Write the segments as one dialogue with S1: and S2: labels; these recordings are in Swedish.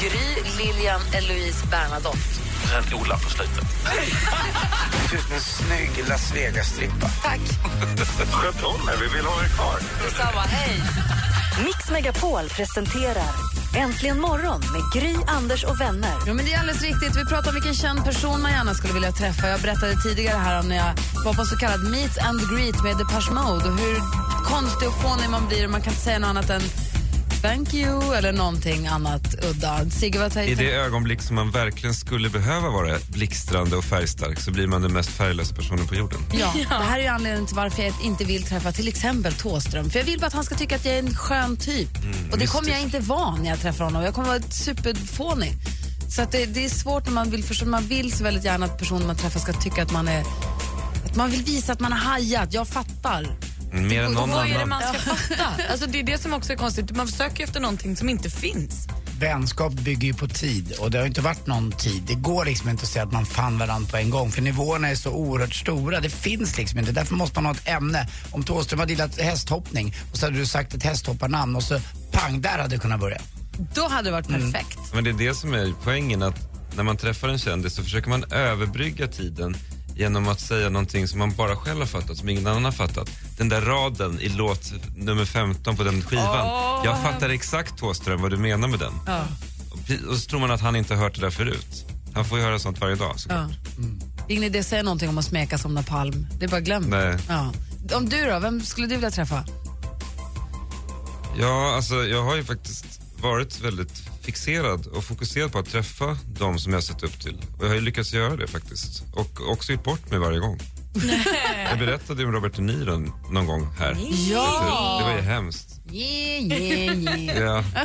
S1: Gry, Lilian, Eloise, Bernadotte.
S2: Sen Ola på slutet.
S3: ser ut som en snygg Las Vegas-strippa.
S1: Tack
S2: Sköt om er, vi vill ha er kvar.
S1: detsamma. Hej!
S4: Mix Megapol presenterar Äntligen morgon med Gry, Anders och vänner.
S1: Jo, men det är alldeles riktigt. Vi pratar om vilken känd person man gärna skulle vilja träffa. Jag berättade tidigare här om när jag var på så kallad meet and greet med Depeche Mode och hur konstig och fånig man blir. Man kan inte säga något annat än thank you eller någonting annat udda. Sigge, vad
S5: I
S1: tänkte
S5: det
S1: du?
S5: ögonblick som man verkligen skulle behöva vara blixtrande och färgstark så blir man den mest färglösa personen på jorden.
S1: Ja, det här är ju anledningen till varför jag inte vill träffa till exempel Tåström. För jag vill bara att han ska tycka att jag är en skön typ. och det kommer jag inte vara när jag träffar honom. Jag kommer vara ett superfånig. Så att det, det är svårt när man vill förstå. Man vill så väldigt gärna att personen man träffar ska tycka att man är... Att man vill visa att man har hajat. Jag fattar.
S5: Mm, Mer än någon
S6: Vad är det
S5: annan.
S6: man ska fatta? Alltså, det är det som också är konstigt. Man söker ju efter någonting som inte finns.
S7: vänskap bygger ju på tid och det har ju inte varit någon tid. Det går liksom inte att säga att man fann varandra på en gång för nivåerna är så oerhört stora. Det finns liksom inte. Därför måste man ha ett ämne. Om Thåström hade gillat hästhoppning och så hade du sagt ett hästhopparnamn och så pang, där hade du kunnat börja.
S1: Då hade det varit perfekt.
S5: Men det är det som är poängen att när man träffar en kändis så försöker man överbrygga tiden genom att säga någonting som man bara själv har fattat, som ingen annan har fattat. Den där raden i låt nummer 15 på den skivan. jag fattar exakt Thåström vad du menar med den. Och- Och så tror man att han inte har hört det där förut. Han får ju höra sånt varje dag såklart.
S1: Ja. Det är ingen idé att säga någonting om att smeka som napalm. Det är bara glöm det.
S5: Nej.
S1: Ja. Om du då, vem skulle du vilja träffa?
S5: Ja, alltså jag har ju faktiskt varit väldigt fixerad och fokuserad på att träffa de som jag sett upp till. Och jag har ju lyckats göra det faktiskt. Och också gjort bort mig varje gång. Jag berättade ju om Robert De Niro någon gång här. Det var ju hemskt.
S1: Yeah, yeah, yeah.
S5: Ja,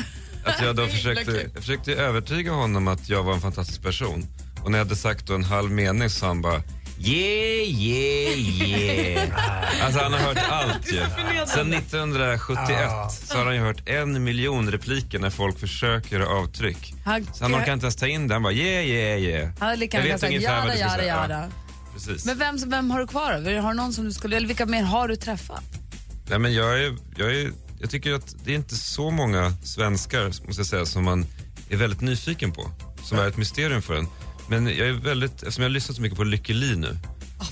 S5: att jag då försökte, jag försökte övertyga honom att jag var en fantastisk person. Och när jag hade sagt då en halv mening så sa han bara Yeah, yeah, yeah. Alltså han har hört allt ju. Sen 1971 så har han ju hört en miljon repliker när folk försöker göra avtryck.
S1: Han-
S5: Så han orkar inte ens ta in det. Han bara yeah, yeah, yeah.
S1: Han hade lika
S5: Jag
S1: gärna
S5: vet
S1: sagt
S5: ungefär vad
S1: jada,
S5: du ska
S1: jada,
S5: säga. Ja,
S1: jada.
S5: Precis.
S1: Men vem, vem har du kvar då? Har du någon som du skulle, eller vilka mer har du träffat?
S5: Nej, men jag, är, jag, är, jag tycker att det är inte så många svenskar måste jag säga, som man är väldigt nyfiken på, som är ett mysterium för en. Men jag är väldigt, eftersom jag har lyssnat så mycket på Lykke Li nu.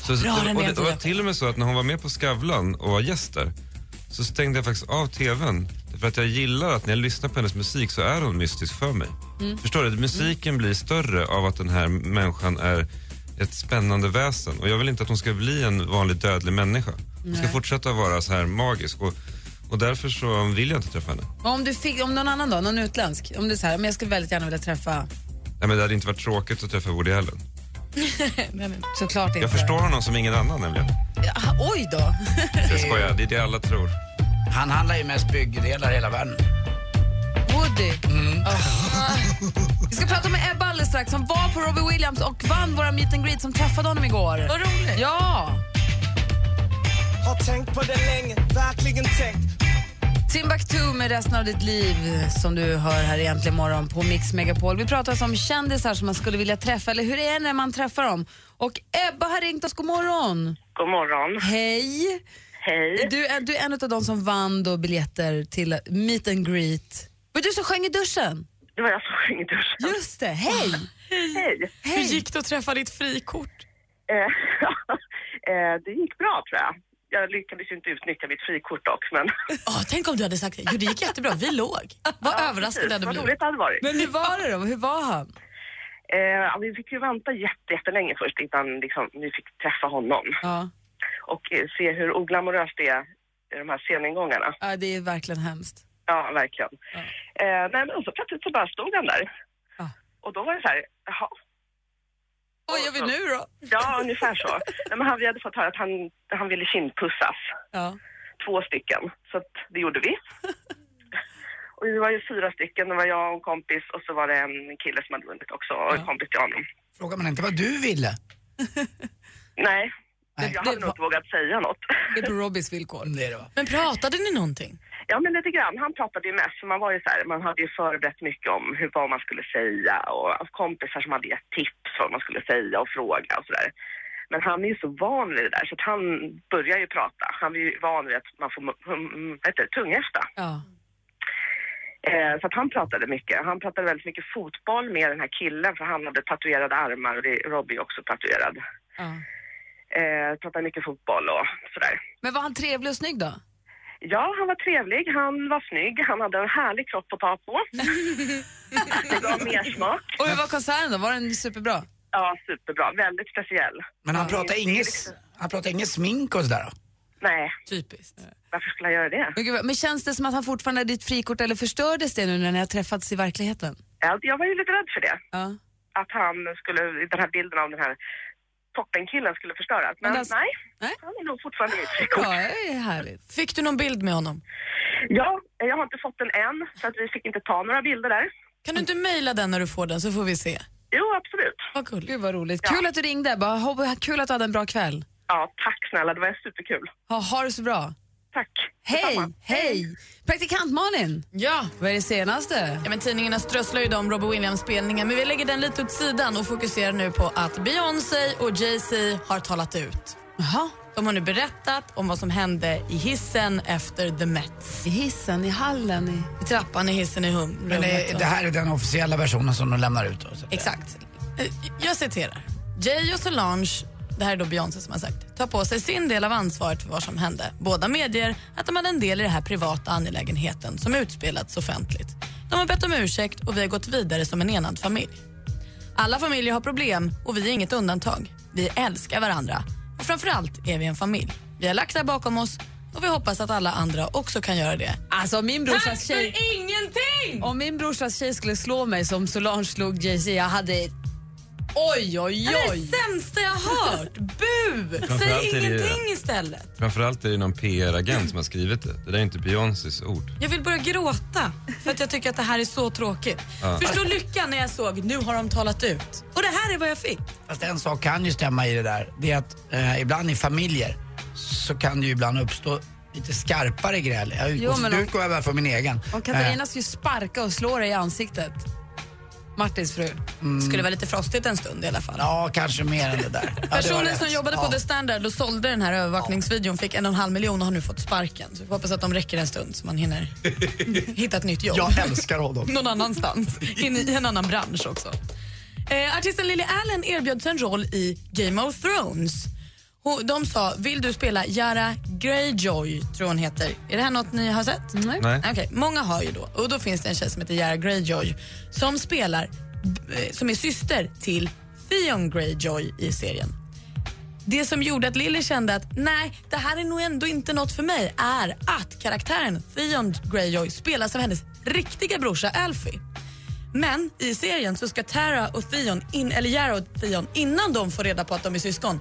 S5: så,
S6: bra
S5: och
S6: den är,
S5: det, och det var
S6: Tia.
S5: till och med så att när hon var med på Skavlan och var gäst där så stängde jag faktiskt av tvn. För att jag gillar att när jag lyssnar på hennes musik så är hon mystisk för mig. Förstår du? Musiken blir större av att den här människan är ett spännande väsen. Och jag vill inte att hon ska bli en vanlig dödlig människa. Hon ska
S1: Nej.
S5: fortsätta vara så här magisk. Och, och därför så vill jag inte träffa henne.
S1: Och Om, du fick, om någon annan då, någon utländsk? Om det är så här, men jag skulle väldigt gärna vilja träffa,
S5: Nej, men det hade inte varit tråkigt att träffa Woody Allen.
S1: såklart inte.
S5: Jag förstår honom som ingen annan nämligen.
S1: Ah, oj då!
S5: Jag skojar, det är det alla tror.
S7: Eh, Han handlar ju mest byggdelar i hela världen.
S1: Woody.
S5: Mm.
S1: Ah. Vi ska prata med Ebba alldeles strax som var på Robbie Williams och vann våra meet and greet som träffade honom igår.
S6: Vad roligt.
S1: Ja!
S8: Har tänkt på det länge, verkligen tänkt.
S1: Timbuktu med resten av ditt liv som du hör här egentligen morgon på Mix Megapol. Vi pratar alltså om kändisar som man skulle vilja träffa eller hur det är när man träffar dem. Och Ebba har ringt oss, god morgon.
S6: God morgon.
S1: Hej!
S6: Hej.
S1: Du är, du är en av de som vann då biljetter till meet and greet. Var du som sjöng i duschen?
S6: Det var jag som sjöng i duschen.
S1: Just det, hej!
S6: Hej.
S1: hej.
S6: Hur gick det att träffa ditt frikort? eh, det gick bra tror jag. Jag lyckades ju inte utnyttja mitt frikort dock, men... tänk om du hade sagt det. Jo, det gick jättebra. Vi låg. Vad överraskad det hade blivit. Vad roligt det hade varit.
S1: Men hur var det då? Hur var han?
S6: Eh, ja, vi fick ju vänta jätte, jättelänge först innan liksom, vi fick träffa honom
S1: Ja,
S6: och eh, se hur oglamoröst det är i de här sceningångarna.
S1: ja det är verkligen hemskt.
S6: Ja, verkligen. Eh, nej, men så plötsligt så bara stod han där.
S1: Ja.
S6: Och då var det så här, jaha,
S1: Vad gör vi nu då?
S6: ja ungefär så. nej, men han, vi hade fått höra att han, han ville kindpussas,
S1: Ja.
S6: två stycken. Så att, det gjorde vi. Och vi var ju fyra stycken, det var jag och en kompis och så var det en kille som hade vunnit också och en kompis till honom.
S7: Frågar man inte vad du ville?
S6: Nej, men jag hade nog inte vågat säga något.
S9: Det är på Robbys villkor.
S7: Det är det, va?
S9: Men pratade ni någonting?
S6: Ja, men lite grann. Han pratade ju mest, för man var ju så här, man hade ju förberett mycket om hur, vad man skulle säga och kompisar som hade gett tips vad man skulle säga och fråga och sådär. Men han är ju så van vid det där så att han börjar ju prata. Han är ju van vid att man får mm, vad heter det, tunghäfta.
S9: Ja.
S6: Eh, så att han pratade mycket. Han pratade väldigt mycket fotboll med den här killen för han hade tatuerade armar och det, Robbie är också tatuerad.
S9: Ja.
S6: Eh, pratade mycket fotboll och sådär.
S9: Men var han trevlig och snygg då?
S6: Ja, han var trevlig, han var snygg, han hade en härlig kropp att ta på. Det gav mer smak.
S9: Och hur var konserten då? Var den superbra?
S6: Ja, superbra. Väldigt speciell.
S7: Men han pratar
S6: liksom-
S7: inget, han pratar inget smink och sådär?
S6: Nej.
S9: Typiskt.
S6: Varför skulle han göra det?
S9: Men, gud, vad- men känns det som att han fortfarande är ditt frikort eller förstördes det nu när ni har träffats i verkligheten?
S6: Ja, Jag var ju lite rädd för det.
S9: Ja.
S6: Att han skulle, den här bilden av den här toppenkillen skulle förstöras. Men,
S9: Men alltså-
S6: nej, han är nog fortfarande mitt frikort.
S9: Ja, det är härligt. Fick du någon bild med honom?
S6: Ja, jag har inte fått den än, så att vi fick inte ta några bilder där.
S9: Kan du inte mejla den när du får den så får vi se?
S6: Jo, absolut.
S9: Vad kul. Gud vad roligt. Kul att du ringde. Bara, ho- kul att du hade en bra kväll.
S6: Ja, tack snälla, det var superkul.
S9: Ha, ha det så bra.
S6: Tack.
S9: Hej, hej. Praktikant Malin.
S10: Ja.
S9: Vad är det senaste?
S10: Ja, men tidningarna strösslar ju då om Robbie Williams-spelningen men vi lägger den lite åt sidan och fokuserar nu på att Beyoncé och Jay-Z har talat ut.
S9: Jaha.
S10: De har nu berättat om vad som hände i hissen efter The Mets.
S9: I hissen, i hallen, i,
S10: trappan, i hissen, i hum-
S7: Men
S10: rummet
S7: eh,
S10: och-
S7: det här är den officiella versionen som de lämnar ut? Då, så.
S10: Exakt. Eh, Jag citerar. Jay och Solange, det här är då Beyoncé som har sagt, tar på sig sin del av ansvaret för vad som hände. Båda medger att de hade en del i den här privata angelägenheten som utspelats offentligt. De har bett om ursäkt och vi har gått vidare som en enad familj. Alla familjer har problem och vi är inget undantag. Vi älskar varandra och framförallt är vi en familj. Vi har lagt det här bakom oss och vi hoppas att alla andra också kan göra det.
S9: Alltså min brorsas tjej...
S10: ingenting!
S9: Om min brorsas tjej skulle slå mig som Solange slog Jay-Z, jag hade... Oj, oj, oj!
S10: Det är det sämsta jag hört! Bu!
S5: Framförallt
S10: Säg
S5: är det-
S10: ingenting istället!
S5: Framförallt är det någon PR-agent som har skrivit det. Det där är inte Beyoncés ord.
S10: Jag vill börja gråta för att jag tycker att det här är så tråkigt.
S5: Ja.
S10: Förstå lyckan när jag såg nu har de talat ut. Och det här är vad jag fick.
S7: Fast en sak kan ju stämma i det där. Det är att eh, ibland i familjer så kan det ju ibland uppstå lite skarpare gräl. Jag
S9: Jo,
S7: utgår,
S9: men
S7: nu
S9: om-
S7: utgår jag bara från min egen. Eh,
S9: Om Katarina skulle sparka och slå dig i ansiktet. Martins fru.
S7: Mm.
S10: Skulle vara lite frostigt en stund i alla fall.
S7: Ja, kanske mer än det där. Ja, det var
S10: Personen
S7: rätt.
S10: som jobbade på
S7: Ja.
S10: The Standard och sålde den här övervakningsvideon fick en och en halv miljon och har nu fått sparken. Så vi hoppas att de räcker en stund så man hinner hitta ett nytt jobb.
S7: Jag älskar honom.
S10: Någon annanstans. In i en annan bransch också. Eh, artisten Lily Allen erbjöds en roll i Game of Thrones. Hon, de sa, vill du spela Yara Greyjoy, tror hon heter. Är det här något ni har sett? Nej.
S5: Nej.
S10: Okej, många har ju då. Och då finns det en tjej som heter Yara Greyjoy som spelar, eh, som är syster till Theon Greyjoy i serien. Det som gjorde att Lily kände att nej, det här är nog ändå inte något för mig är att karaktären Theon Greyjoy spelas av hennes riktiga brorsa Alfie. Men i serien så ska Tara och Theon, in, eller Yara och Theon, innan de får reda på att de är syskon,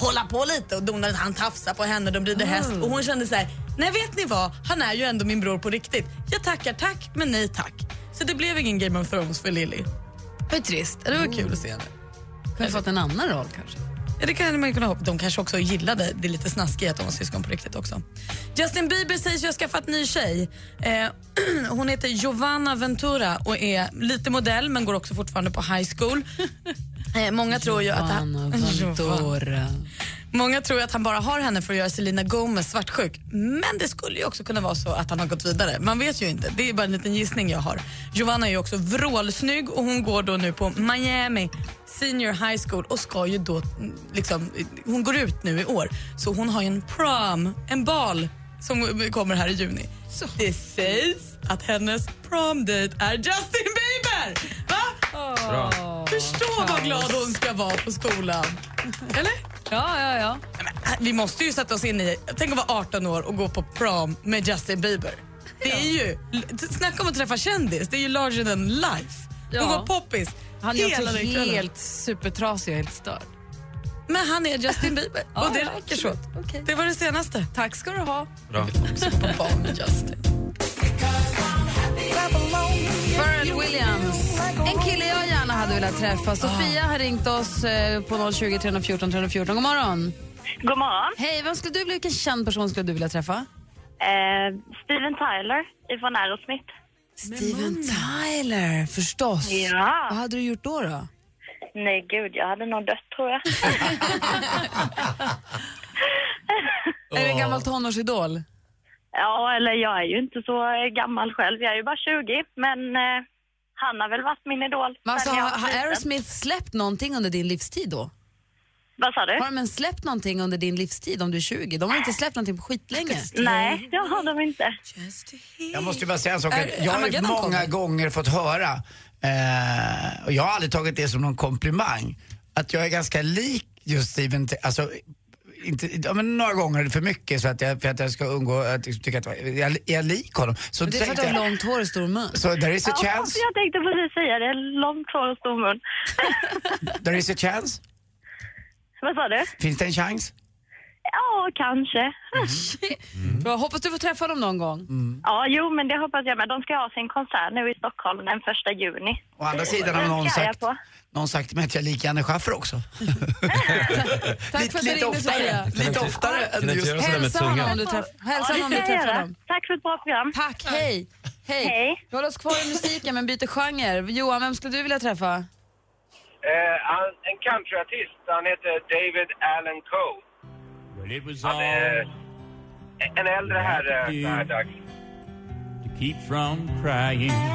S10: hålla på lite och dona lite. Han tafsar på henne, de rider häst och hon kände så här, nej vet ni vad, han är ju ändå min bror på riktigt. Jag tackar tack, men nej tack. Så det blev ingen Game of Thrones för Lily. Det var trist, det var kul att se henne.
S9: Kunde fått en annan roll kanske.
S10: Ja, det kan man ju kunna hoppas. De kanske också gillade det lite snaskiga att de var syskon på riktigt också. Justin Bieber sägs ju ha skaffat ny tjej. Eh, hon heter Giovanna Ventura och är lite modell men går också fortfarande på high school. Eh, många tror ju att...
S9: Giovanna Ventura.
S10: Många tror ju att han bara har henne för att göra Selena Gomez svartsjuk. Men det skulle ju också kunna vara så att han har gått vidare. Man vet ju inte. Det är bara en liten gissning jag har. Giovanna är ju också vrålsnygg och hon går då nu på Miami Senior High School och ska ju då mm, liksom, hon går ut nu i år. Så hon har ju en prom, en bal som kommer här i juni. Så. Det sägs att hennes promdate är Justin Bieber! Va?
S5: Bra.
S10: Förstå vad glad hon ska vara på skolan. Eller? äh,
S9: Ja, ja, ja.
S10: Vi måste ju sätta oss in i, tänk att vara 18 år och gå på prom med Justin Bieber. Det är ju, snacka om att träffa kändis, det är ju larger than life. Hon
S9: Ja.
S10: var poppis
S9: Han är
S10: hela
S9: också
S10: den kvällen.
S9: helt supertrasig och helt störd.
S10: Men han är Justin Bieber
S9: Ja,
S10: och det
S9: ja,
S10: räcker så.
S9: absolut. Okej.
S10: Det var det senaste. Tack ska du ha.
S5: Bra.
S10: Också på barn med Justin.
S1: Pharrell Williams. En kille jag gärna hade velat träffa. Sofia har ringt oss eh, på 020 314 314. God morgon.
S11: God morgon.
S1: Hej, vem skulle du, vilken känd person skulle du vilja träffa?
S11: Eh, Steven Tyler ifrån Aerosmith.
S1: Steven Tyler, förstås.
S11: Ja.
S1: Vad hade du gjort då? då?
S11: Nej, gud, jag hade nog dött tror jag.
S1: Är det en gammal tonårsidol?
S11: Ja, eller jag är ju inte så gammal själv. Jag är ju bara 20, men eh, han har väl varit min idol.
S1: Men alltså,
S11: sen jag
S1: har,
S11: var
S1: har
S11: liten.
S1: Aerosmith släppt någonting under din livstid då?
S11: Vad sa du?
S1: Har de ens släppt någonting under din livstid om du är 20? De har inte släppt någonting på skitlänge.
S11: Nej, det har de inte.
S7: Jag måste ju bara säga en sak.
S1: Är-
S7: Jag har ju
S1: Armageddon
S7: många
S1: kommer.
S7: gånger fått höra, eh, och jag har aldrig tagit det som någon komplimang, att jag är ganska lik just Steven T- alltså, inte, ja, men några gånger är det för mycket så att jag, för att jag ska undgå att liksom tycka att jag, jag är lik honom. Så
S1: Men det är för att
S7: tänkte
S1: du har
S7: jag-
S1: långt hår och stor mun.
S7: Så there is a chance,
S11: jag tänkte precis säga det. Långt hår och stor mun.
S7: there is a chance.
S11: Vad sa du?
S7: Finns det en chans?
S11: Ja, kanske.
S7: Mm.
S1: Bra, hoppas du får träffa dem någon gång.
S11: Ja, jo, men det hoppas jag med. De ska ha sin konsert nu i Stockholm den första juni.
S7: Å andra sidan har
S11: Den
S7: någon
S11: ska jag
S7: sagt,
S11: på.
S7: någon sagt till mig att jag är lik Janne Schaffer också.
S1: Tack för att du
S7: lite
S1: ringde Sofia.
S7: oftare, lite oftare än
S5: kan inte
S7: just...
S5: göra sådär med
S1: Hälsa honom
S5: tungan.
S1: om du träffar, hälsa
S11: Ja, det
S1: honom om du
S11: ska jag
S1: träffar
S11: göra.
S1: dem.
S11: Tack för ett bra program.
S1: Tack, hej. Hej.
S11: Hej.
S1: Vi håller oss kvar i musiken men byter genre. Johan, vem skulle du vilja träffa?
S12: Eh, han, en countryartist, han heter David Allen Coe. Han är eh, en äldre herre så här dags.
S13: Keep from crying.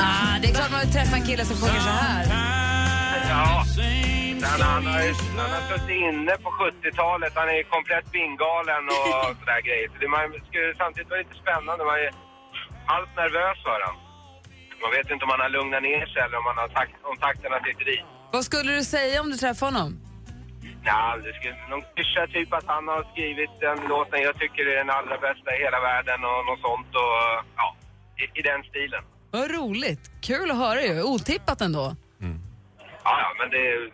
S1: Ah, det är klart man vill träffa en kille som sjunger så här.
S12: Ja, han, han, har, ju- han har suttit inne på 70-talet, han är ju komplett bingalen och sådär grejer. Så det man skulle samtidigt vara lite spännande, man är allt nervös för han. Man vet inte om han har lugnat ner sig eller om, han har tak, om takterna sitter i.
S1: Vad skulle du säga om du träffade honom?
S12: Nej, alltså, det skulle, någon klyscha typ att han har skrivit den låten jag tycker är den allra bästa i hela världen och något sånt och ja, i, i den stilen.
S1: Vad roligt. Kul att höra ju. Otippat ändå.
S12: Ja, ja, men det, är-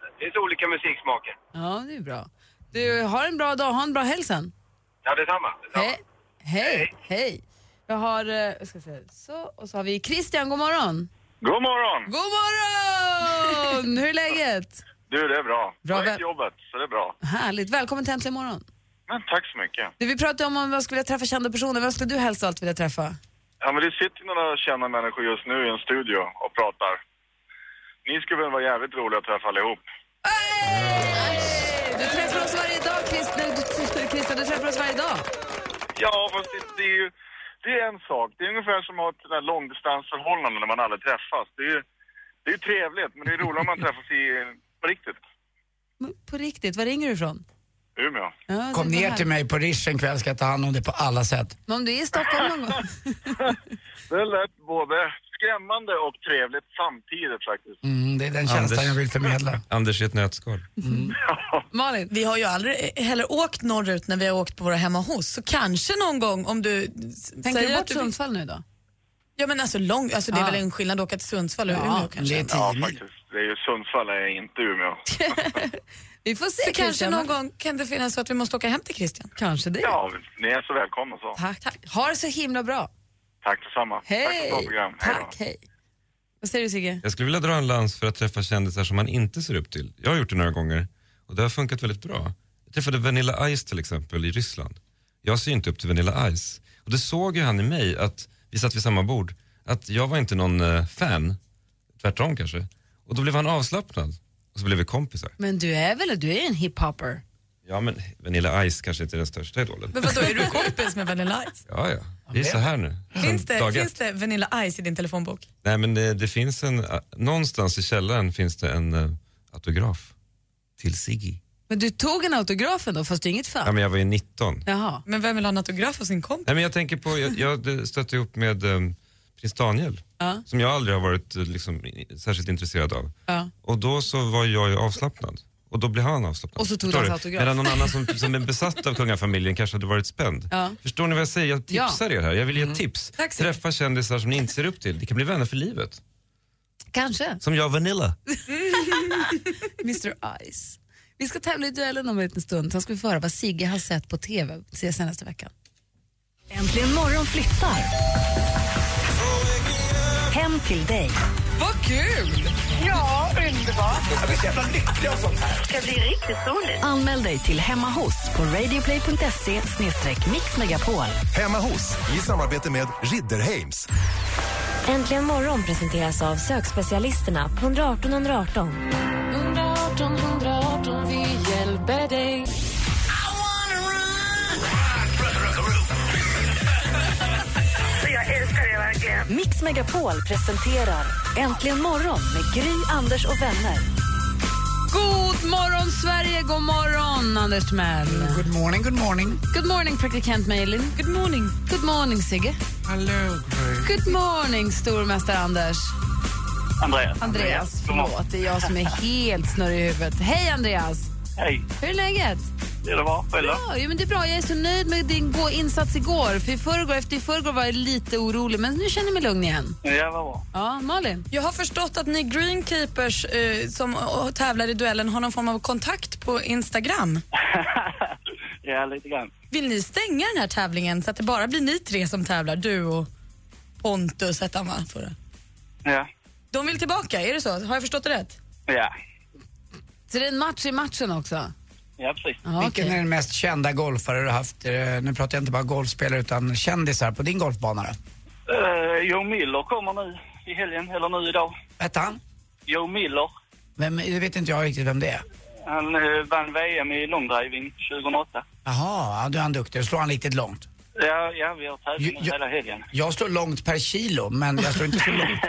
S12: det finns olika musiksmaker.
S1: Ja, det är bra. Du, har en bra dag. Ha en bra helg sen.
S12: Ja, detsamma. detsamma.
S1: Hej. Hej. Hej. Jag har... eh, Jag ska se, så, och så har vi Christian, god morgon.
S14: God morgon!
S1: God morgon! Hur är läget?
S14: Du, det är bra.
S1: Bra,
S14: jag är
S1: väl-
S14: på jobbet, så det är bra.
S1: Härligt. Välkommen till Äntligen morgon.
S14: Men tack så mycket.
S1: Du, vi pratade om om jag skulle vilja träffa kända personer. Vem skulle du helst av allt vilja träffa?
S14: Ja, men det sitter några kända människor just nu i en studio och pratar. Ni skulle väl vara jävligt roliga att träffa allihop.
S1: Du träffar oss varje dag, Christian. Du, Christian, du träffar oss varje dag.
S14: Ja, fast det, det är ju... Det är en sak. Det är ungefär som att ha ett sånt där långdistansförhållande när man aldrig träffas. Det är ju det är ju trevligt, men det är roligare om man träffas i, på riktigt.
S1: På riktigt, var ringer du ifrån?
S14: Umeå.
S1: Ja, det
S7: Kom
S1: var
S7: ner
S1: här.
S7: till mig på Rish en kväll, ska jag ta hand om det på alla sätt.
S1: Men om du är i Stockholm någon gång.
S14: Det lät både skrämmande och trevligt samtidigt faktiskt.
S7: Mm, det är den känslan
S5: Anders.
S7: jag vill förmedla.
S5: Anders i ett nötskal.
S1: Malin?
S10: Vi har ju aldrig heller åkt norrut när vi har åkt på våra hemma hos. Så kanske någon gång om du s-
S1: Tänker du
S10: säger
S1: bort
S10: att du...
S1: Sundsvall nu då?
S10: Ja men alltså, lång, alltså det är
S1: Ja.
S10: väl en skillnad att åka till Sundsvall och
S7: Mm,
S10: Umeå kanske.
S14: Ja, faktiskt. Det är ju Sundsvall, är inte Umeå.
S1: Vi får se
S10: Så kanske
S1: Christian.
S10: någon gång kan det finnas så att vi måste åka hem till Christian.
S1: Kanske det.
S14: Ja, ni är så välkomna så.
S1: Tack. Tack. Ha det så himla bra.
S14: Tack detsamma. Tack för ett bra program. Hej då.
S1: Tack, hej. Vad säger du Sigge?
S5: Jag skulle vilja dra en lans för att träffa kändisar som man inte ser upp till. Jag har gjort det några gånger och det har funkat väldigt bra. Jag träffade Vanilla Ice till exempel i Ryssland. Jag ser ju inte upp till Vanilla Ice. Och det såg ju han i mig, att vi satt vid samma bord, att jag var inte någon eh, fan, tvärtom kanske. Och då blev han avslappnad och så blev vi kompisar.
S1: Men du är väl du är en hiphopper?
S5: Ja men Vanilla Ice kanske inte är den största idolen.
S10: Men vadå, är du kompis med Vanilla Ice?
S5: Ja ja, vi är så här nu.
S10: Finns
S5: Sen
S10: det,
S5: dag
S10: finns
S5: ett.
S10: det Vanilla Ice i din telefonbok?
S5: Nej men det, det finns en, eh, någonstans i källaren finns det en eh, autograf till Siggy.
S1: Men du tog en autograf ändå fast du är inget fan?
S5: Ja men jag var ju 19.
S1: Jaha.
S10: Men vem vill ha en autograf av sin kompis?
S5: Nej, men jag tänker på, jag, jag stötte ihop med um, prins Daniel,
S1: Ja.
S5: som jag aldrig har varit eh, liksom, i- särskilt intresserad av.
S1: Ja.
S5: Och då så var jag ju avslappnad. Och då blev han avslappnad.
S1: Och så tog
S5: Förstår
S1: du
S5: du?
S1: hans autograf.
S5: Medan någon annan som, som är besatt av kungafamiljen kanske hade varit spänd.
S1: Ja. Mm.
S5: Förstår ni vad jag säger? Jag tipsar er här. Jag vill ge tips.
S1: Tack så mycket.
S5: Träffa kändisar som ni inte ser upp till. Det kan bli vänner för livet.
S1: Kanske.
S5: Som jag, Vanilla.
S1: Mr Ice. Vi ska tävla i duellen om en liten stund. Sen ska vi få höra vad Sigge har sett på TV se senaste veckan.
S4: Äntligen morgon flyttar. Hem till dig.
S9: Vad kul!
S4: Ja, underbart.
S3: Jag blir så jävla lycklig av sånt här.
S4: Det ska bli riktigt soligt. Anmäl dig till Hemma hos på radioplay.se mixmegapol.
S15: Hemma hos, i samarbete med Ridderheims.
S16: Äntligen morgon presenteras av sökspecialisterna på 118 118.
S17: 118 118, vi hjälper dig.
S4: Jag älskar det verkligen. Mix Megapol presenterar Äntligen morgon med Gry, Anders och vänner.
S1: God morgon, Sverige! God morgon, Anders Timell.
S7: Good morning, good morning.
S1: Good morning, praktikant Malin. Good morning. Good morning, Sigge.
S7: Hallå,
S1: Good morning, stormästare Anders.
S18: Andreas.
S1: Andreas, förlåt. Det är jag som är helt snurrig i huvudet. Hej, Andreas!
S18: Hej.
S1: Hur är läget?
S18: Det är det bra. Själv då?
S1: Bra, jo, men det är bra. Jag är så nöjd med din gå- insats igår. För i förrgår, efter i förrgår var jag lite orolig, men nu känner jag mig lugn igen.
S18: Ja, vad bra.
S1: Ja, Malin?
S10: Jag har förstått att ni Greenkeepers eh, som eh, tävlar i duellen har någon form av kontakt på Instagram.
S18: Ja, lite grann.
S10: Vill ni stänga den här tävlingen så att det bara blir ni tre som tävlar? Du och Pontus hette han va? Förra.
S18: Ja.
S10: De vill tillbaka, är det så? Har jag förstått det rätt?
S18: Ja.
S1: Så det är en match i matchen också?
S18: Ja, precis.
S7: Vilken är den mest kända golfare du har haft? eh, Nu pratar jag inte bara golfspelare utan kändisar på din golfbana då.
S18: Eh, Joe Miller kommer nu i helgen, eller nu idag.
S7: Hette han?
S18: Joe Miller.
S7: Vem, det vet inte jag riktigt vem det är.
S18: Han eh, vann VM i långdriving 2008.
S7: Jaha, ja, du är han duktig. Då slår han riktigt långt.
S18: Ja, ja vi har tävling nu hela helgen.
S7: Jag slår långt per kilo, men jag slår inte så långt.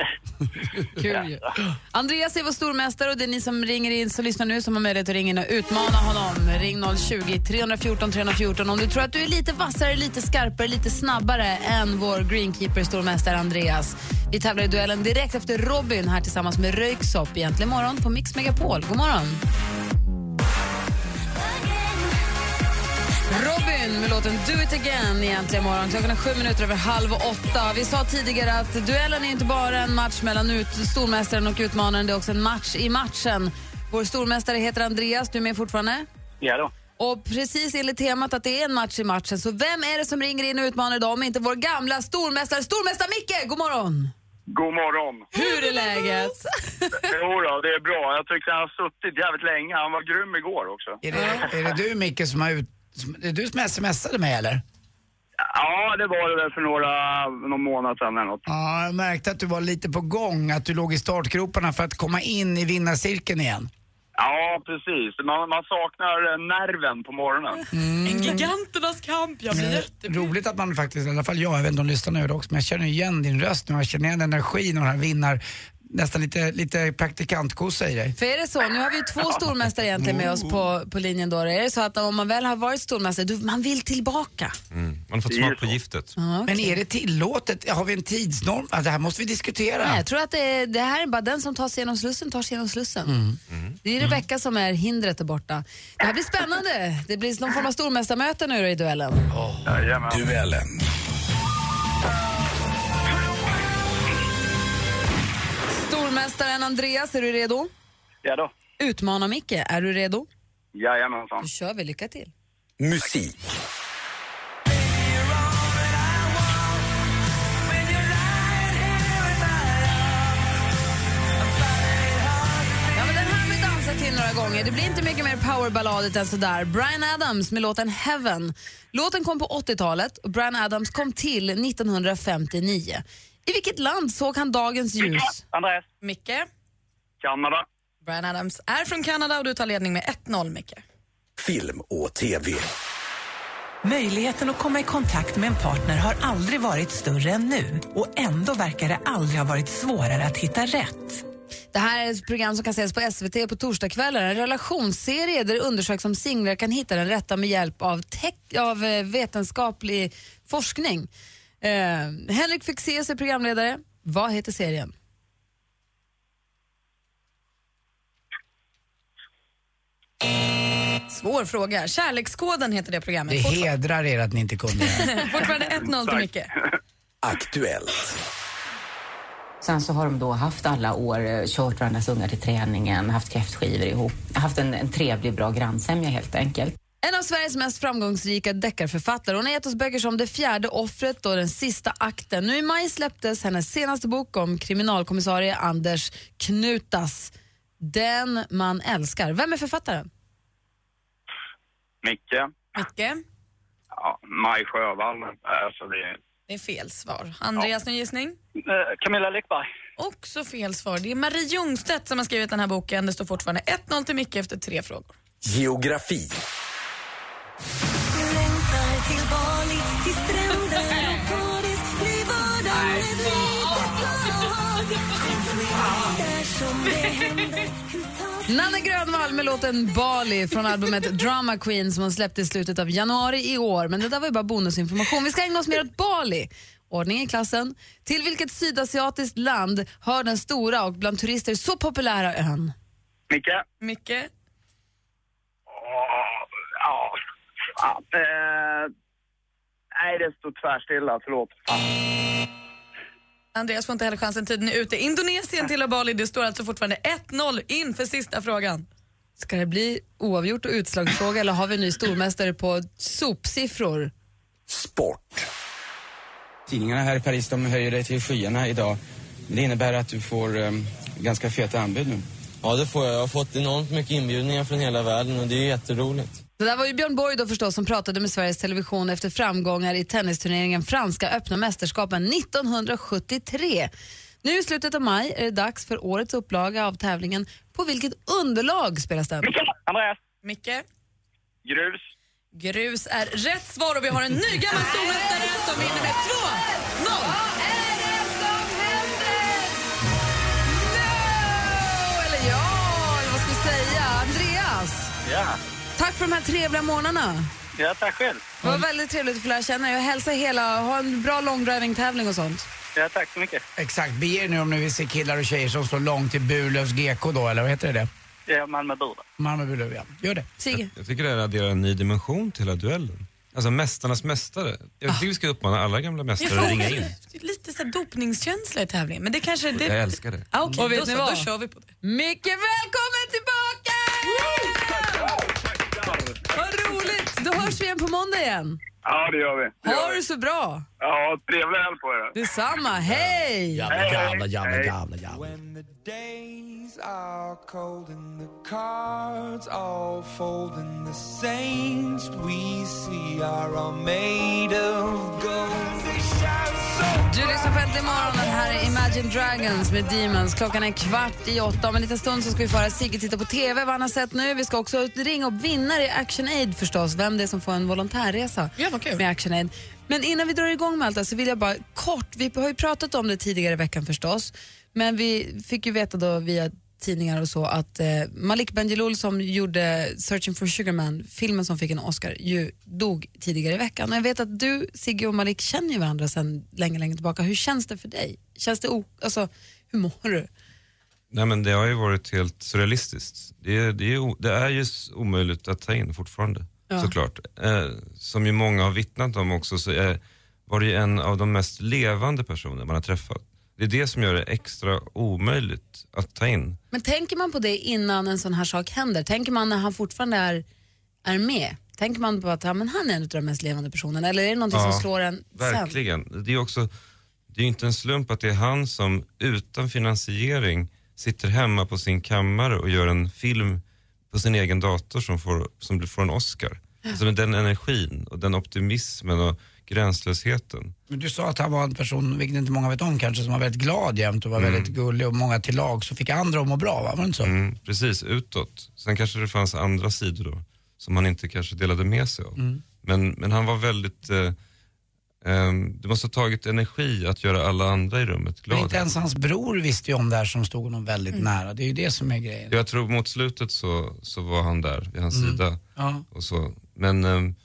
S1: Kul ju. Andreas är vår stormästare och det är ni som ringer in så lyssnar nu som har möjlighet att ringa in och utmana honom. Ring 020-314 314 om du tror att du är lite vassare, lite skarpare, lite snabbare än vår greenkeeper stormästare Andreas. Vi tävlar i duellen direkt efter Robin här tillsammans med Röyksopp egentligen morgon på Mix Megapol. God morgon! Robin med låten Do It Again egentligen imorgon. Klockan är sju minuter över halv åtta. Vi sa tidigare att duellen är inte bara en match mellan ut, stormästaren och utmanaren, det är också en match i matchen. Vår stormästare heter Andreas, du är med fortfarande?
S18: Ja då.
S1: Och precis enligt temat att det är en match i matchen, så vem är det som ringer in och utmanar idag om inte vår gamla stormästare, stormästare Micke? God morgon!
S14: God morgon.
S1: Hur är läget?
S14: Jo då, det är bra. Jag tyckte han har suttit jävligt länge. Han var grym igår också.
S7: Är det, är det du Micke som har ut... som- Är det du som smsade mig eller?
S14: Ja, det var det väl för några, någon månad sedan eller något.
S7: Ja, jag märkte att du var lite på gång, att du låg i startgroparna för att komma in i vinnarcirkeln igen.
S14: Ja, precis. Man, man saknar eh, nerven på morgonen.
S10: En giganternas kamp, jag
S7: Mm.
S10: blir jätte...
S7: Eh, Roligt att man faktiskt, i alla fall jag, jag vet inte om du lyssnar nu det också, men jag känner igen din röst nu, jag känner igen energin och den här vinnar, nästan lite, lite praktikantkossa i dig.
S1: För är det så, nu har vi ju två stormästare egentligen med oss på, på linjen då. Är det så att om man väl har varit stormästare, du, man vill tillbaka?
S5: Mm. Man har fått smak på giftet.
S7: Men är det tillåtet? Har vi en tidsnorm? Ah, det här måste vi diskutera.
S1: Nej, jag tror att det, är, det här är bara den som tar sig genom slussen tar sig genom slussen. Det är Rebecka som är hindret där borta. Det här blir spännande. Det blir någon form av stormästarmöte nu då i duellen.
S3: Duellen.
S1: Stormästaren Andreas, är du redo?
S18: Ja då.
S1: Utmana Micke, är du redo?
S14: Jajamensan.
S1: Då kör vi, lycka till.
S3: Musik.
S1: Ja, men den här har vi dansat till några gånger. Det blir inte mycket mer powerballadigt än sådär. Brian Adams med låten Heaven. Låten kom på 80-talet och Brian Adams kom till 1959. I vilket land såg han dagens ljus?
S18: Andreas.
S10: Micke.
S14: Kanada.
S10: Brian Adams är från Kanada och du tar ledning med 1-0, Micke.
S3: Film och TV.
S19: Möjligheten att komma i kontakt med en partner har aldrig varit större än nu och ändå verkar det aldrig ha varit svårare att hitta rätt.
S1: Det här är ett program som kan ses på SVT på torsdagskvällar. En relationsserie där det undersöks om singlar kan hitta den rätta med hjälp av, tech, av eh, vetenskaplig forskning. Eh, Henrik Fexeus är programledare. Vad heter serien?
S10: Svår fråga. Kärlekskoden heter det programmet.
S7: Det hedrar er att ni inte kunde det.
S10: Fortfarande 1-0 till Micke.
S3: Aktuellt.
S20: Sen så har de då haft alla år, eh, kört varandras ungar till träningen, haft kräftskivor ihop, haft en, en trevlig, bra grannsämja helt enkelt.
S1: En av Sveriges mest framgångsrika deckarförfattare. Hon har gett oss böcker som Det fjärde offret och Den sista akten. Nu i maj släpptes hennes senaste bok om kriminalkommissarie Anders Knutas. Den man älskar. Vem är författaren?
S14: Micke?
S10: Micke?
S14: Ja, Maj Sjövall. Alltså det är...
S10: Det är fel svar. Andreas, någon gissning?
S14: Eh,
S18: Camilla Läckberg.
S10: Också fel svar. Det är Marie Ljungstedt som har skrivit den här boken. Det står fortfarande 1-0 till Micke efter tre frågor.
S21: Geografi.
S1: Nanne Grönvall med låten Bali från albumet Drama Queen som hon släppte i slutet av januari i år. Men det där var ju bara bonusinformation. Vi ska ägna oss mer åt Bali. Ordning i klassen. Till vilket sydasiatiskt land hör den stora och bland turister så populära ön?
S14: Micke?
S10: Micke?
S14: Åh, Ja, fan. Eh, nej, det står tvärstilla. Förlåt.
S10: Andreas får inte heller chansen. Tiden är ute. Indonesien till och Bali. Det står alltså fortfarande 1-0 inför sista frågan.
S1: Ska det bli oavgjort och utslagsfråga eller har vi en ny stormästare på sopsiffror?
S21: Sport.
S22: Tidningarna här i Paris de höjer dig till skyarna idag. Det innebär att du får ehm, ganska feta anbud nu.
S23: Ja, det får jag. Jag har fått enormt mycket inbjudningar från hela världen och det är jätteroligt.
S1: Det där var ju Björn Borg då förstås som pratade med Sveriges Television efter framgångar i tennisturneringen Franska öppna mästerskapen 1973. Nu i slutet av maj är det dags för årets upplaga av tävlingen. På vilket underlag spelas den?
S14: Andreas?
S10: Micke?
S14: Grus?
S10: Grus är rätt svar och vi har en ny gammal stormästare som vinner med 2-0.
S1: Oh, eller ja, eller vad ska vi säga? Andreas,
S18: Ja.
S1: tack för de här trevliga morgnarna.
S18: ja, tack själv.
S1: Det var väldigt trevligt att få lära känna er. Jag hälsar hela, ha en bra långdriving-tävling och sånt.
S18: Ja, tack så mycket.
S7: Exakt, bege er nu om ni vill se killar och tjejer som står långt till Burlövs GK då, eller vad heter det?
S18: Ja, Malmö Bur.
S7: Malmö Burlöv, ja. Gör det.
S1: Sigge?
S5: Jag tycker det här adderar en ny dimension till hela duellen. Alltså Mästarnas mästare. Jag tycker vi ska uppmana alla gamla mästare att ringa in.
S10: Lite så här dopningskänsla i tävlingen, men det kanske... Det...
S5: Jag älskar det.
S10: Ah, okay,
S1: Och vet
S10: då,
S1: ni
S10: så,
S1: vad?
S10: då kör vi på det.
S1: Micke, välkommen tillbaka! Vad roligt! Då hörs vi igen på måndag igen.
S14: Ja, det gör vi. Det gör
S1: Ha
S14: vi.
S1: det så bra!
S14: Ja, trevlig helg på er.
S1: Detsamma, hej!
S14: Jävla, jävla, jävla, Hej.
S7: jävla, jävla.
S24: cards all fold and the saints we see are all made of gold.
S1: Du lyssnar på Äntligen morgon. Det här är Imagine Dragons med Demons. Klockan är kvart i åtta. Om en liten stund så ska vi få höra Sigge titta på TV, vad han har sett nu. Vi ska också ringa upp vinnare i Action Aid förstås, vem det är som får en volontärresa ja, vad kul. med Action Aid. Men innan vi drar igång med allt det här så vill jag bara kort, vi har ju pratat om det tidigare i veckan förstås, men vi fick ju veta då via tidningar och så att eh, Malik Bendjelloul som gjorde Searching for Sugar Man, filmen som fick en Oscar, ju dog tidigare i veckan. Och jag vet att du, Sigge och Malik känner ju varandra sedan länge, länge tillbaka. Hur känns det för dig? Känns det o- alltså, hur mår du?
S5: Nej, men det har ju varit helt surrealistiskt. Det är, det är, o- det är ju s- omöjligt att ta in fortfarande,
S1: Ja.
S5: såklart. Eh, som ju många har vittnat om också så är, var det ju en av de mest levande personer man har träffat. Det är det som gör det extra omöjligt att ta in.
S1: Men tänker man på det innan en sån här sak händer? Tänker man när han fortfarande är, är med? Tänker man på att ja, men han är en av de mest levande personerna? Eller är det någonting
S5: Ja,
S1: som slår en sen?
S5: Verkligen. Det är ju också, det är ju inte en slump att det är han som utan finansiering sitter hemma på sin kammare och gör en film på sin egen dator som får, som blir- får en Oscar. Alltså med den energin och den optimismen och gränslösheten.
S7: Men du sa att han var en person, vilket inte många vet om kanske, som var väldigt glad jämt och var väldigt gullig och många till lag så fick andra att må bra, va? var det inte så?
S5: Mm, precis, utåt. Sen kanske det fanns andra sidor då som han inte kanske delade med sig av.
S7: Mm.
S5: Men, men han var väldigt, eh, ehm, det måste ha tagit energi att göra alla andra i rummet
S7: Men
S5: glada.
S7: inte ens hans bror visste ju om det här som stod honom väldigt
S5: Mm.
S7: nära. Det är ju det som är grejen.
S5: Jag tror mot slutet så, så var han där vid hans
S7: Mm.
S5: sida.
S7: Ja.
S5: Och så. Men ehm,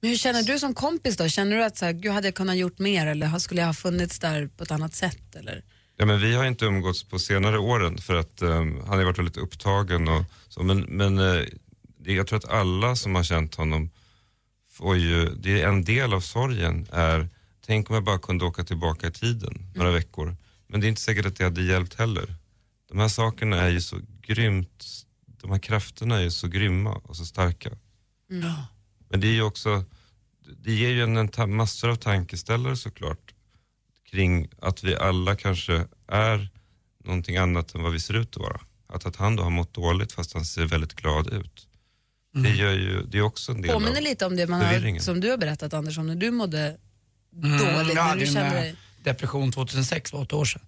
S1: Men hur känner du som kompis då? Känner du att så här, gud, hade jag kunnat gjort mer eller har- skulle jag ha funnits där på ett annat sätt? Eller?
S5: Ja, men vi har inte umgåtts på senare åren för att ehm, han har varit väldigt upptagen och så. Men, men eh, det- jag tror att alla som har känt honom får ju, det är en del av sorgen är, tänk om jag bara kunde åka tillbaka i tiden några veckor. Men det är inte säkert att det hade hjälpt heller. De här sakerna är ju så grymt, de här krafterna är ju så grymma och så starka.
S1: Mm.
S5: Men det är ju också, det ger ju en, en ta- massor av tankeställare såklart kring att vi alla kanske är någonting annat än vad vi ser ut att vara. Att, att han då har mått dåligt fast han ser väldigt glad ut. Det, gör ju, det är också en del
S1: Påminner
S5: av
S1: lite om det man
S5: förvirringen.
S1: har, som du har berättat Anders om när du mådde
S7: Mm,
S1: dåligt,
S7: jag
S1: när
S7: hade
S1: du
S7: en,
S1: kände
S7: eh,
S1: dig...
S7: depression 2006, för åtta år sedan.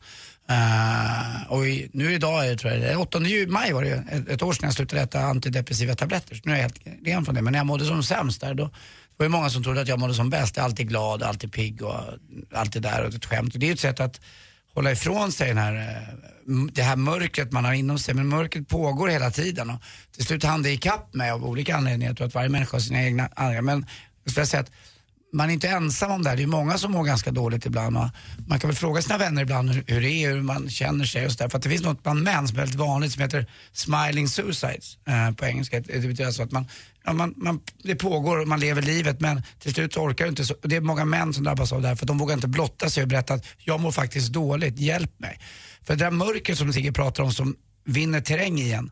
S7: Eh, och i, nu idag är det, tror jag, det är 8 ju- maj var det ju, ett, ett år sedan jag slutade äta antidepressiva tabletter. Så nu är jag helt ren från det. Men när jag mådde som sämst där, då var det många som trodde att jag mådde som bäst. Jag är alltid glad, alltid pigg och alltid där och ett skämt. Och det är ju ett sätt att hålla ifrån sig den här, eh, m- det här mörkret man har inom sig. Men mörkret pågår hela tiden och till slut hann det ikapp mig av olika anledningar. Jag tror att varje människa har sina egna anledningar. Men jag skulle säga att man är inte ensam om det här. Det är många som mår ganska dåligt ibland. va? Man kan väl fråga sina vänner ibland hur, hur det är, hur man känner sig och sådär. För att det finns något bland män som är väldigt vanligt som heter smiling suicides eh, på engelska. Det betyder alltså att man, ja, man, man, det pågår och man lever livet men till slut så orkar du inte. Så, och det är många män som drabbas av det här för att de vågar inte blotta sig och berätta att jag mår faktiskt dåligt, hjälp mig. För det där mörkret som Sigge pratar om som vinner terräng igen,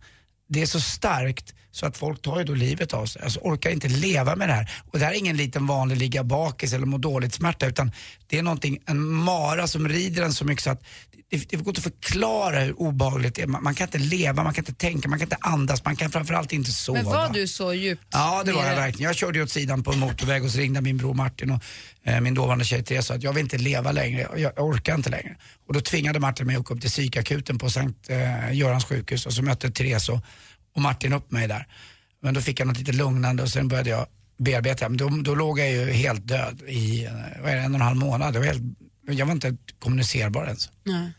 S7: det är så starkt så att folk tar ju då livet av sig. Alltså orkar inte leva med det här. Och det här är ingen liten vanlig ligga bakis eller må dåligt smärta utan det är någonting, en mara som rider en så mycket så att det, det går inte att förklara hur obehagligt det är. Man, man kan inte leva, man kan inte tänka, man kan inte andas, man kan framförallt inte sova.
S1: Men var du så djupt
S7: Ja, det var
S1: nere?
S7: jag verkligen. Jag körde ju åt sidan på en motorväg och så ringde min bror Martin och eh, min dåvarande tjej Therese och sa att jag vill inte leva längre, jag, jag orkar inte längre. Och då tvingade Martin mig att åka upp till psykakuten på Sankt eh, Görans sjukhus och så mötte Therese och, och Martin upp mig där. Men då fick jag något lite lugnande och sen började jag bearbeta. Men då, då låg jag ju helt död i eh, vad är det, en och en halv månad. Jag var, helt, jag var inte kommunicerbar ens.
S1: Nej.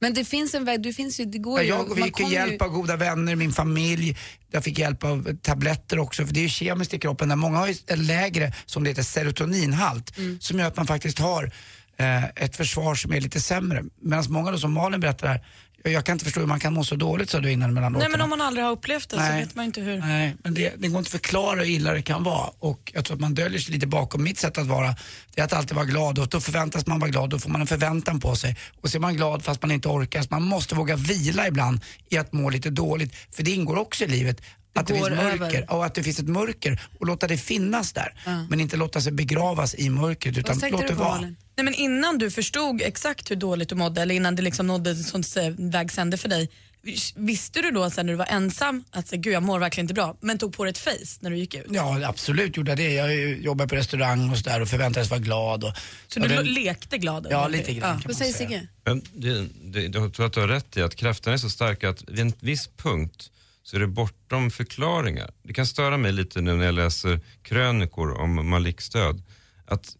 S1: Men det finns en väg, du finns ju, det går ju...
S7: Jag och vi
S1: man
S7: fick ju
S1: kommer ju-
S7: hjälp av goda vänner, min familj. Jag fick hjälp av tabletter också, för det är ju kemiskt i kroppen. Där många har ju en lägre, som det heter, serotoninhalt som gör att man faktiskt har eh, ett försvar som är lite sämre. Medan många då, som Malin berättar här, jag- jag kan inte förstå hur man kan må så dåligt sa du innan mellan
S10: Nej,
S7: låtarna.
S10: men om man aldrig har upplevt det så
S7: Nej.
S10: vet man inte hur.
S7: Nej, men det, det går inte att förklara hur illa det kan vara. Och jag tror att man döljer sig lite bakom mitt sätt att vara. Det är att alltid vara glad och då förväntas man vara glad, då får man en förväntan på sig. Och så är man glad fast man inte orkar. Så man måste våga vila ibland i att må lite dåligt. För det ingår också i livet. Att det,
S1: går
S7: finns mörker,
S1: över.
S7: ja, och att det finns ett mörker och låta det finnas där.
S10: Ja.
S7: Men inte låta sig begravas i mörkret utan låt det vara.
S10: Nej, men innan du förstod exakt hur dåligt du mådde eller innan det liksom nådde en sån eh, vägs ände för dig, vis- visste du då sen när du var ensam att så, gud jag mår verkligen inte bra, men tog på dig ett face när du gick ut?
S7: Ja, absolut gjorde jag det. Jag eh, jobbade på restaurang och sådär och förväntades vara glad. Och,
S10: Så
S7: och
S10: du
S7: den-
S10: lo- lekte glad?
S7: Ja,
S10: över det?
S7: lite grann kan
S1: Vad säger Sigge?
S5: Men det, det, jag tror att du har rätt i att kraften är så stark att vid en viss punkt så är det bortom förklaringar. Det kan störa mig lite nu när jag läser krönikor om Malikstöd. Att,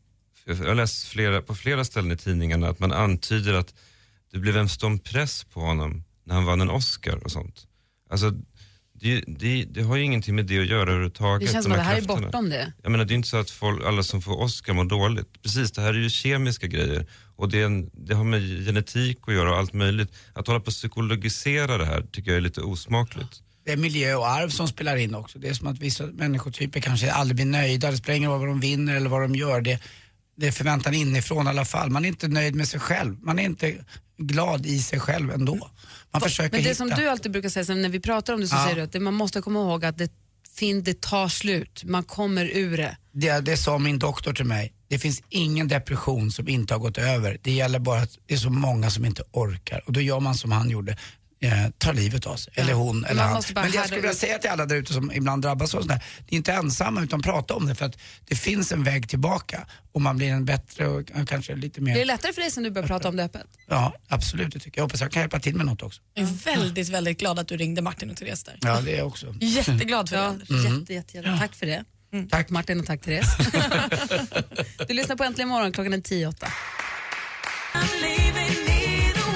S5: jag har läst flera, på flera ställen i tidningarna att man antyder att det blev en stor press på honom när han vann en Oscar och sånt. Alltså, det, det, det har ju ingenting med det att göra överhuvudtaget.
S1: Det känns som
S5: de
S1: att det här är
S5: krafterna.
S1: bortom det.
S5: Jag menar det är inte så att folk, alla som får Oscar mår dåligt. Precis, det här är ju kemiska grejer och det, är en, det har med genetik att göra och allt möjligt. Att hålla på och psykologisera det här tycker jag är lite osmakligt.
S7: Det är miljö och arv som spelar in också. Det är som att vissa människotyper kanske aldrig blir nöjda. Det spelar ingen roll vad de vinner eller vad de gör. Det, det är förväntan inifrån i alla fall. Man är inte nöjd med sig själv. Man är inte glad i sig själv ändå. Man försöker
S1: Men det
S7: hitta.
S1: som du alltid brukar säga, sen när vi pratar om det så
S7: Ja.
S1: säger du att det, man måste komma ihåg att det, fin, det tar slut, man kommer ur det.
S7: det, det sa min doktor till mig. Det finns ingen depression som inte har gått över. Det gäller bara att det är så många som inte orkar. Och då gör man som han gjorde. Eh, tar livet av sig. Eller hon eller
S1: Man
S7: han.
S1: måste bara
S7: Men det jag
S1: härda
S7: skulle vilja
S1: ut.
S7: säga till alla där ute som ibland drabbas av sånt här. Ni är inte ensamma utan prata om det för att det finns en väg tillbaka. Och man blir en bättre och och kanske lite
S1: Blir det
S7: mer...
S1: lättare för dig sen du börjar prata om det öppet?
S7: Ja, absolut det tycker jag. Jag hoppas jag kan hjälpa till med något också.
S10: Jag är väldigt, väldigt glad att du ringde Martin och Therese där.
S7: Ja, det är jag också.
S10: Jätteglad för
S1: Ja, Mm.
S10: det.
S7: Mm.
S1: jätte, jätte, jätte. Tack för det.
S7: Tack
S1: Martin och tack Therese. du lyssnar på Äntligen morgon, klockan är tio i åtta.